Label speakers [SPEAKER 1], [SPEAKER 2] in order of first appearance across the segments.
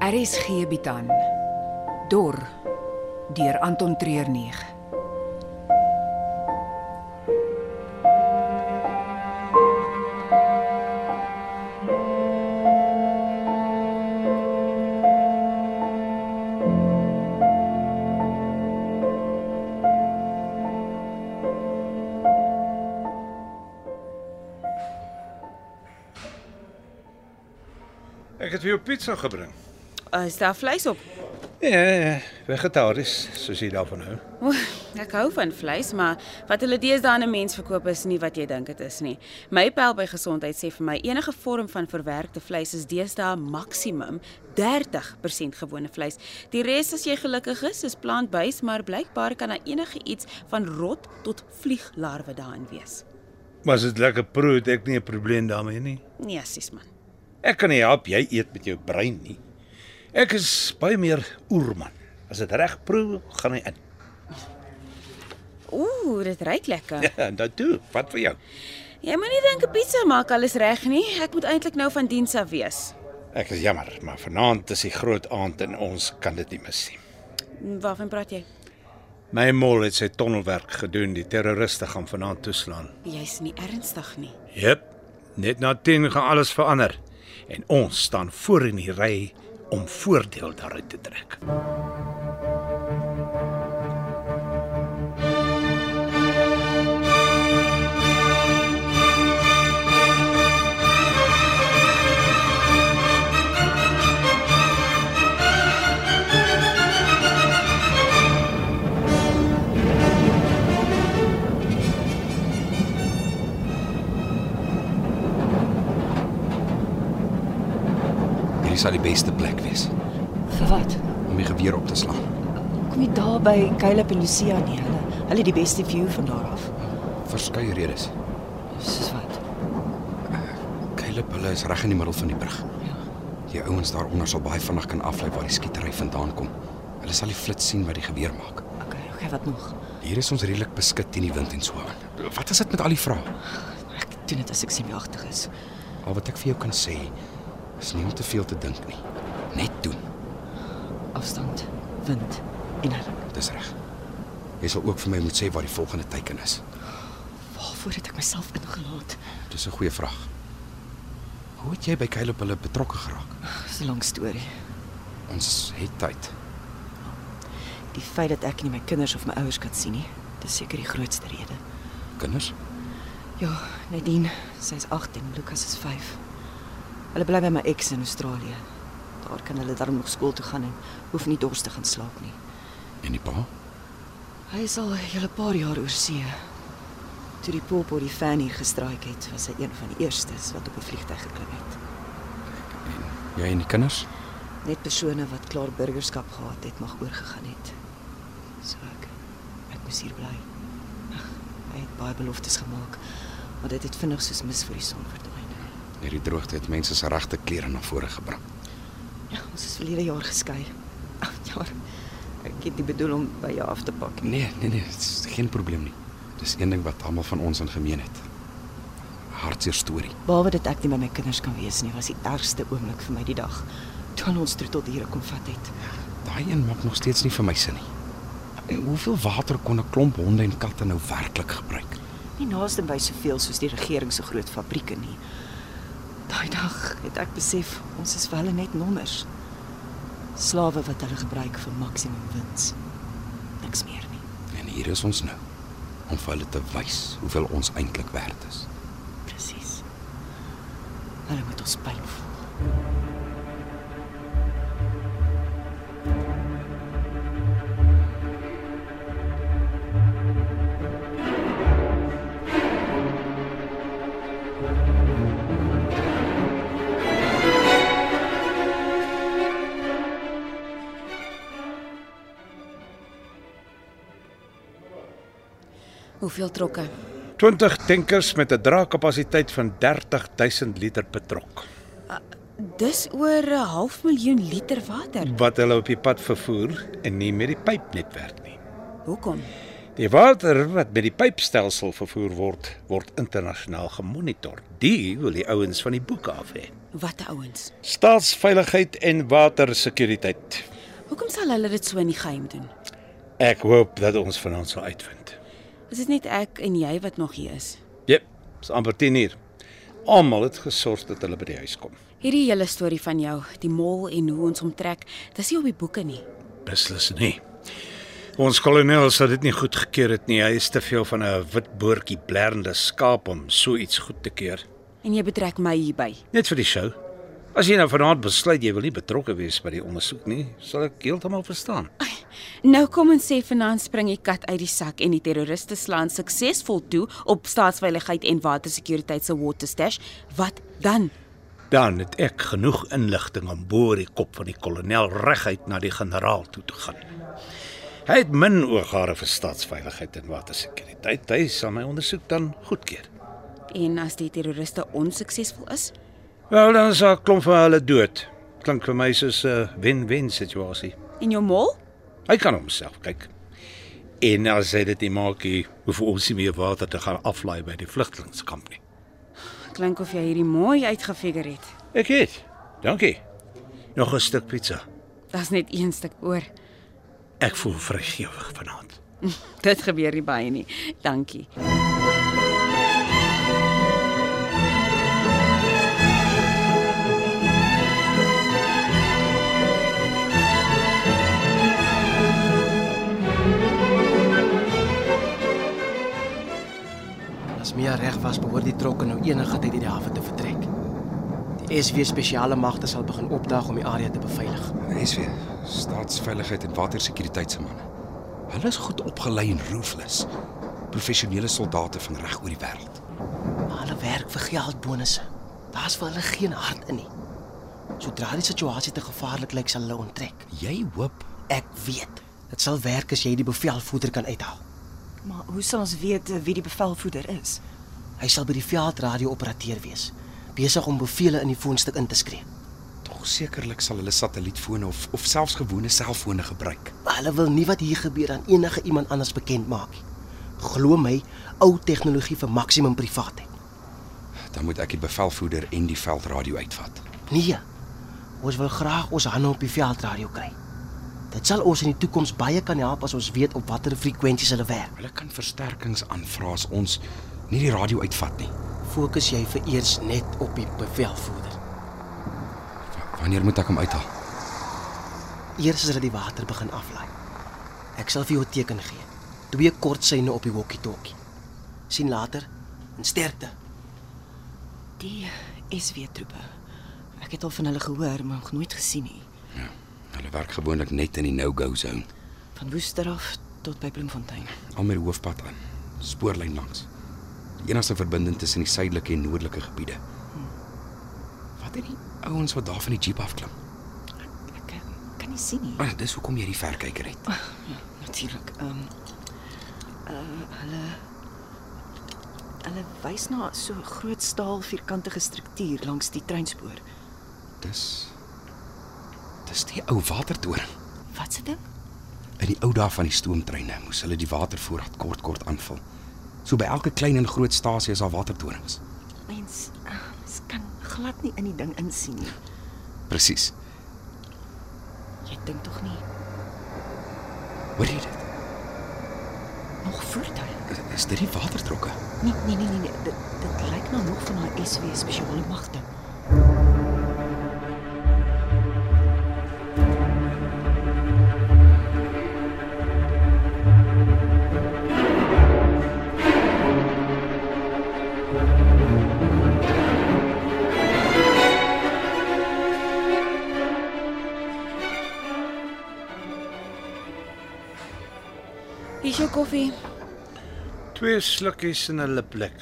[SPEAKER 1] RSG bied aan Dor deur Anton Treurnig.
[SPEAKER 2] Ek het vir jou pizza gebring.
[SPEAKER 3] Uh, is daar vleis op?
[SPEAKER 2] Ja, ja, vegetaries, soos jy daarvan hou.
[SPEAKER 3] O, ek hou van vleis, maar wat hulle deesdae aan 'n mens verkoop is nie wat jy dink dit is nie. My pel by gesondheid sê vir my enige vorm van verwerkte vleis is deesdae maksimum 30% gewone vleis. Die res as jy gelukkig is, is plantbuis, maar blykbaar kan daar enige iets van rot tot vlieglarwe daarin wees.
[SPEAKER 2] Maar as dit lekker proe, het ek nie 'n probleem daarmee nie.
[SPEAKER 3] Nee, assies man.
[SPEAKER 2] Ek kan nie help jy eet met jou brein nie. Ek is baie meer oerman. As dit reg proe, gaan hy in.
[SPEAKER 3] Ooh, dit ruik lekker.
[SPEAKER 2] Ja, en dan toe, wat vir jou?
[SPEAKER 3] Jy moenie dink 'n pizza maak alles reg nie. Ek moet eintlik nou van diens af wees.
[SPEAKER 2] Ek is jammer, maar vanaand is die groot aand en ons kan dit nie mis nie.
[SPEAKER 3] Waarvan praat jy?
[SPEAKER 2] My mol het sy tonnelwerk gedoen. Die terroriste gaan vanaand toeslaan.
[SPEAKER 3] Jy's nie ernstig nie.
[SPEAKER 2] Jep. Net na 10 gaan alles verander en ons staan voor in die ry om voordeel daaruit te trek.
[SPEAKER 4] Hierdie sal die beste plek wees
[SPEAKER 5] Vir wat?
[SPEAKER 4] om die geweer op te slaan.
[SPEAKER 5] Kom jy daar by Caleb en Lucia nie hulle? Hulle het die beste view van daar af.
[SPEAKER 4] Verskeie redes.
[SPEAKER 5] Soos wat?
[SPEAKER 4] Caleb hulle is reg in die middel van die brug. Die ouens daaronder sal baie vinnig kan aflei waar die skietery vandaan kom. Hulle sal die flits sien wat die geweer maak.
[SPEAKER 5] Okay, okay, wat nog?
[SPEAKER 4] Hier is ons redelik beskik teen die wind en so aan. Wat is dit met al die vrae?
[SPEAKER 5] Ek doen dit as ek senuagtig is.
[SPEAKER 4] Al wat ek vir jou kan sê, is nie om te veel te dink nie. Net doen.
[SPEAKER 5] Afstand, wind en hulle.
[SPEAKER 4] Dis reg. Jy sal ook vir my moet sê wat die volgende teiken is.
[SPEAKER 5] Waarvoor het ek myself ingelaat?
[SPEAKER 4] Dis 'n goeie vraag. Hoe het jy by Caleb hulle betrokke geraak?
[SPEAKER 5] Dis 'n lang storie.
[SPEAKER 4] Ons het tyd.
[SPEAKER 5] Die feit dat ek nie my kinders of my ouers kan sien nie, dis seker die grootste rede.
[SPEAKER 4] Kinders?
[SPEAKER 5] Ja, Nadine, sy's 8 en Lukas is 5. Hulle bly by my ex in Australië. Daar kan hulle daarom nog skool toe gaan en hoef nie dors te gaan slaap nie.
[SPEAKER 4] En die pa?
[SPEAKER 5] Hy is al 'n hele paar jaar oor see. Toe die pop oor die fan hier gestraaik het, was hy een van die eerstes wat op 'n vliegtuig geklim het.
[SPEAKER 4] Jy en die kinders?
[SPEAKER 5] Net persone wat klaar burgerskap gehad het, mag oorgegaan het. So ek ek moes hier bly. Hy het baie beloftes gemaak, maar dit het vinnig soos mis vir die son verdwyn.
[SPEAKER 4] Hierdie droogte het mense se regte klere na vore gebring.
[SPEAKER 5] Ja, ons is verlede jaar geskei. Ag ja. Ek het nie bedoel om by jou af te pak nie.
[SPEAKER 4] Nee, nee, nee, dit is geen probleem nie. Dis een ding wat almal van ons in gemeen het. Hartseer storie.
[SPEAKER 5] Behalwe dit ek nie by my kinders kan wees nie, was die ergste oomblik vir my die dag toe hulle ons troetel diere kom vat het.
[SPEAKER 4] Daai een maak nog steeds nie vir my sin nie. En hoeveel water kon 'n klomp honde en katte nou werklik gebruik?
[SPEAKER 5] Nie naaste by soveel soos die regering se groot fabrieke nie. Daai dag het ek besef ons is vir hulle net nommers. Slawe wat hulle gebruik vir maksimum wins. Niks meer nie.
[SPEAKER 4] En hier is ons nou om vir hulle te wys hoeveel ons eintlik werd is.
[SPEAKER 5] Presies. Hulle moet ons pyn voel.
[SPEAKER 3] Hoeveel trokke?
[SPEAKER 2] 20 tankers met 'n draagkapasiteit van 30000 liter betrok
[SPEAKER 3] Dis oor 'n half miljoen liter water.
[SPEAKER 2] wat hulle op die pad vervoer en nie met die pypnetwerk nie.
[SPEAKER 3] Hoekom?
[SPEAKER 2] Die water wat met die pypstelsel vervoer word, word internasionaal gemonitor. Die wil die ouens van die boeke af hê.
[SPEAKER 3] Wat ouens.
[SPEAKER 2] Staatsveiligheid en watersekuriteit.
[SPEAKER 3] Hoekom sal hulle dit so in die geheim doen?
[SPEAKER 2] Ek hoop dat ons vanaand sal uitvind.
[SPEAKER 3] Is dit net ek en jy wat nog hier is?
[SPEAKER 2] Jep, is amper 10 uur. Almal het gesorg dat hulle by die huis kom.
[SPEAKER 3] Hierdie hele storie van jou, die mol en hoe ons hom trek, dis nie op die boeke nie.
[SPEAKER 2] Beslis nie. Ons kolonel sou dit nie goed gekeer het nie. Hy is te veel van 'n wit boortjie blerende skaap om so iets goed te keer.
[SPEAKER 3] En jy betrek my hierby.
[SPEAKER 2] Net vir die show. As jy nou vanaand besluit jy wil nie betrokke wees by die ondersoek nie, sal ek heeltemal verstaan.
[SPEAKER 3] Nou kom en sê vanaand spring die kat uit die sak en die terroriste slaan suksesvol toe op staatsveiligheid en watersekuriteit se water stash. Wat dan?
[SPEAKER 2] Dan het ek genoeg inligting om boor die kop van die kolonel reguit na die generaal toe te gaan. Hy het min ooghare vir staatsveiligheid en watersekuriteit. Hy sal my ondersoek dan goedkeur.
[SPEAKER 3] En as die terroriste onsuksesvol is?
[SPEAKER 2] Wel, dan is 'n klomp van hulle dood. Klink vir my soos 'n wen-wen situasie.
[SPEAKER 3] En jou mol?
[SPEAKER 2] Hy kan homself kyk. En as hy dit nie maak nie, hoef ons nie meer water te gaan aflaai by die vlugtelingkamp nie.
[SPEAKER 3] Klink of jy hierdie mooi uitgefigure het.
[SPEAKER 2] Ek het. Dankie. Nog 'n stuk pizza.
[SPEAKER 3] Daar's net een stuk oor.
[SPEAKER 2] Ek voel vrygewig vanaand.
[SPEAKER 3] Dit gebeur nie baie nie. Dankie.
[SPEAKER 6] As Mia reg was, behoort die trokke nou enige tyd uit die hawe te vertrek. Die SW spesiale magte sal begin opdaag om die area te beveilig.
[SPEAKER 4] SW, staatsveiligheid en watersekuriteit se manne. Hulle is goed opgelei en ruthless. Professionele soldate van reg oor die wêreld.
[SPEAKER 6] Maar hulle werk vir geldbonusse. Daar's vir hulle geen hart in nie. Sodra die situasie te gevaarlik lyk, sal hulle onttrek.
[SPEAKER 4] Jy hoop
[SPEAKER 6] Ek weet, dit sal werk as jy die bevelvoerder kan uithaal.
[SPEAKER 5] Maar hoe sal ons weet eh, wie die bevelvoerder is?
[SPEAKER 6] Hy sal by die veldradio operateur wees, besig om bevele in die foonstuk in te skree.
[SPEAKER 4] tog sekerlik sal hulle satellietfone of of selfs gewone selfone gebruik.
[SPEAKER 6] Maar hulle wil nie wat hier gebeur aan enige iemand anders bekend maak nie. Glo my, ou tegnologie vir maksimum privaatheid.
[SPEAKER 4] Dan moet ek die bevelvoerder en die veldradio uitvat.
[SPEAKER 6] Nee. Ons wil graag ons hande op die veldradio kry. Dit sal ons in die toekoms baie kan help as ons weet op watter frekwensies hulle werk.
[SPEAKER 4] Hulle kan versterkings aanvra as ons nie die radio uitvat nie.
[SPEAKER 6] Fokus jy vereers net op die bevelvoerder.
[SPEAKER 4] W- Wanneer moet ek hom uithaal?
[SPEAKER 6] Eers as hulle die water begin aflaai. Ek sal vir jou 'n teken gee. Twee kort syne op die walkie-talkie. Sien later en sterkte.
[SPEAKER 5] Die SW troepe. Ek het al van hulle gehoor, maar nog nooit gesien nie.
[SPEAKER 4] Hulle werk gewoonlik net in die no-go zone,
[SPEAKER 5] Van Woester af tot by Bloemfontein.
[SPEAKER 4] al met die hoofpad aan, spoorlyn langs. Die enigste verbinding tussen die suidelike en noordelike gebiede. Hm. Wat het die ouens wat daar van die jeep afklim?
[SPEAKER 5] Ek eh, kan nie sien nie.
[SPEAKER 4] Ah, dis hoekom jy die verkyker het.
[SPEAKER 5] Natuurlik. Ehm uh, hulle hulle wys na so 'n groot staal vierkantige struktuur langs die treinspoor.
[SPEAKER 4] Dis Dis die ou watertoring.
[SPEAKER 5] Wat se ding?
[SPEAKER 4] In die ou dae van die stoomtreine moes hulle die watervoorraad kort kort aanvul. So by elke klein en groot stasie is daar watertorings.
[SPEAKER 5] Mens, ah, mens kan glad nie in die ding insien nie.
[SPEAKER 4] Presies.
[SPEAKER 5] Jy dink tog nie
[SPEAKER 4] Hoor jy dit?
[SPEAKER 5] nog voertuie.
[SPEAKER 4] Is- Is dit die watertrokke?
[SPEAKER 5] Nee, nee, nee, nee, nee. Dit, dit lyk nou nog van haar SW spesiale magte.
[SPEAKER 3] Hier is jou koffie.
[SPEAKER 2] Twee slukkies en 'n liplek.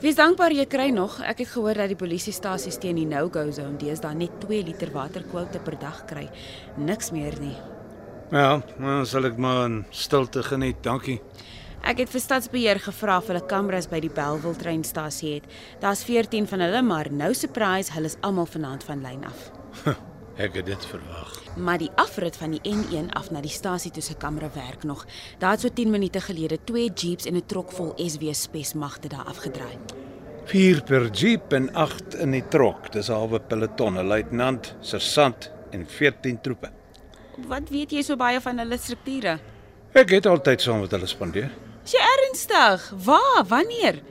[SPEAKER 3] Wees dankbaar jy kry nog. Ek het gehoor dat die polisiestasies teen die no-go zone deesdae net 2 liter water quota per dag kry. Niks meer nie.
[SPEAKER 2] Ja, dan sal ek maar in stilte geniet. Dankie.
[SPEAKER 3] Ek het vir stadsbeheer gevra of hulle kameras by die Bellville treinstasie het. Daar's 14 van hulle, maar nou surprise, hulle is almal vanaand van lyn af.
[SPEAKER 2] Ek het dit verwag.
[SPEAKER 3] Maar die afrit van die N1 af na die stasie toe se kamera werk nog. Daar het so 10 minute gelede twee jeeps en 'n trok vol SW spesmagte daar afgedraai.
[SPEAKER 2] 4 per jeep en 8 in die trok. Dis 'n halwe peloton, 'n luitenant, sersant en 14 troepe.
[SPEAKER 3] Wat weet jy so baie van hulle strukture?
[SPEAKER 2] Ek het altyd saam met hulle spandeer.
[SPEAKER 3] Is jy ernstig? Waar? Wanneer?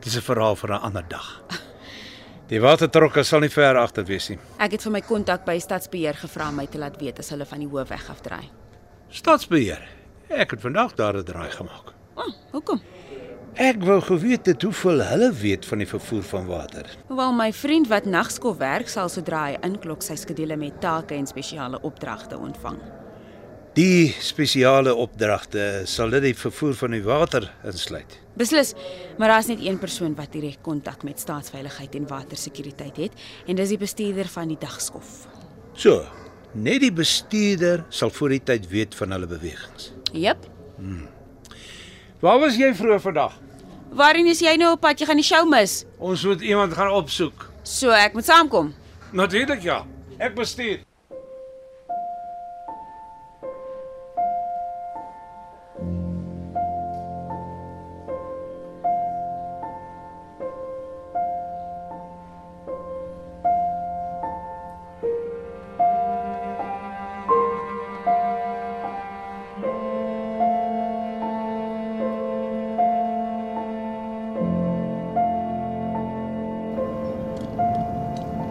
[SPEAKER 2] Dis 'n verhaal vir 'n ander dag. Die watertrokke sal nie ver agter wees nie.
[SPEAKER 3] Ek het vir my kontak by Stadsbeheer gevra om my te laat weet as hulle van die hoofweg afdry.
[SPEAKER 2] Stadsbeheer. Ek het vandag daar 'n draai gemaak.
[SPEAKER 3] O, oh, hoekom?
[SPEAKER 2] Ek wou geweet het hoeveel hulle weet van die vervoer van water.
[SPEAKER 3] Hoewel my vriend wat nagskof werk sal sodra hy inklok sy skedule met take en spesiale opdragte ontvang.
[SPEAKER 2] Die spesiale opdragte sal dit die vervoer van die water insluit.
[SPEAKER 3] Beslis, maar daar's net een persoon wat direk kontak met staatsveiligheid en watersekuriteit het en dis die bestuurder van die dagskof.
[SPEAKER 2] So, net die bestuurder sal voor die tyd weet van hulle bewegings.
[SPEAKER 3] Jep.
[SPEAKER 2] Waar was jy vroeër vandag?
[SPEAKER 3] Waarheen is jy nou op pad? Jy gaan die show mis.
[SPEAKER 2] Ons moet iemand gaan opsoek.
[SPEAKER 3] So ek moet saamkom.
[SPEAKER 2] Natuurlik ja. Ek bestuur.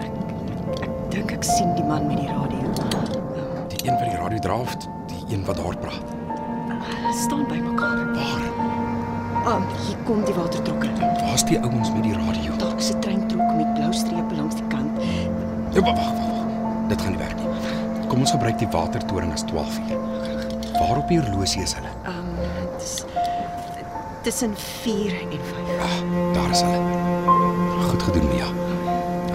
[SPEAKER 5] Ek dink ek sien die man met die radio.
[SPEAKER 4] Die een wat die radio dra of die een wat daar praat?
[SPEAKER 5] Hulle staan by mekaar.
[SPEAKER 4] Waar?
[SPEAKER 5] Ah, hier kom die watertrokker.
[SPEAKER 4] Waar's die ouens met die radio?
[SPEAKER 5] Dalk se treintrok met blou strepe langs die kant.
[SPEAKER 4] Ja, wag, wag, wag, wag. Dit gaan nie werk nie. Kom ons gebruik die watertoring as 12 uur. Waar op die horlosie is hulle?
[SPEAKER 5] Ehm um, dis tussen 4 en 5.
[SPEAKER 4] Ah, daar is hulle. Goed gedoen, Mia.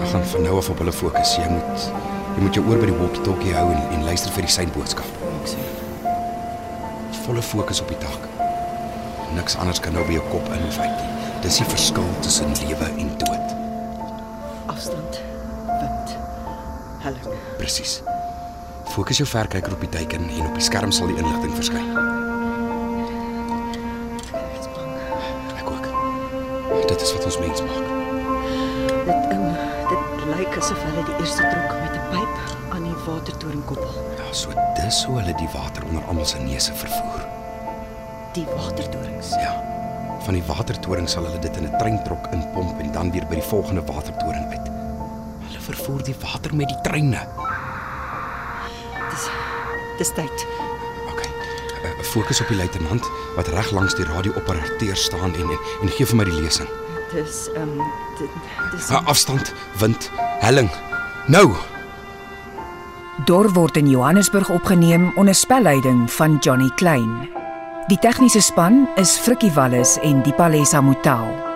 [SPEAKER 4] Ek gaan van nou af op hulle fokus. Jy moet jy moet jou oor by die walkie-talkie hou en, en luister vir die seinboodskap.
[SPEAKER 5] Ek sê
[SPEAKER 4] Volle fokus op die dak. Niks anders kan nou by jou kop in of uit nie. Dis die verskil tussen lewe en dood.
[SPEAKER 5] afstand. Wind. Helling.
[SPEAKER 4] Presies. Fokus jou verkyker op die teiken en op die skerm sal die inligting verskyn.
[SPEAKER 5] Ek's bang.
[SPEAKER 4] Ek ook. Dit is wat ons mens maak.
[SPEAKER 5] Dit um, dit lyk asof hulle die eerste trok met 'n pyp aan die watertoring koppel.
[SPEAKER 4] Ja, so dis hoe hulle die water onder almal se neuse vervoer.
[SPEAKER 5] Die watertorings.
[SPEAKER 4] Ja. Van die watertoring sal hulle dit in 'n treintrok inpomp en dan weer by die volgende watertoring uit. Hulle vervoer die water met die treine.
[SPEAKER 5] Dis dis tyd.
[SPEAKER 4] OK. eh, Fokus op die luitenant wat reg langs die radio-operateur staan en en, en gee vir my die lesing.
[SPEAKER 5] Dis ehm um, dit dis
[SPEAKER 4] Ah, Afstand, wind, helling. Nou.
[SPEAKER 1] Dor word in Johannesburg opgeneem onder spelleiding van Johnny Klein. Die tegniese span is Frikkie Wallis en Dipalesa Motelo.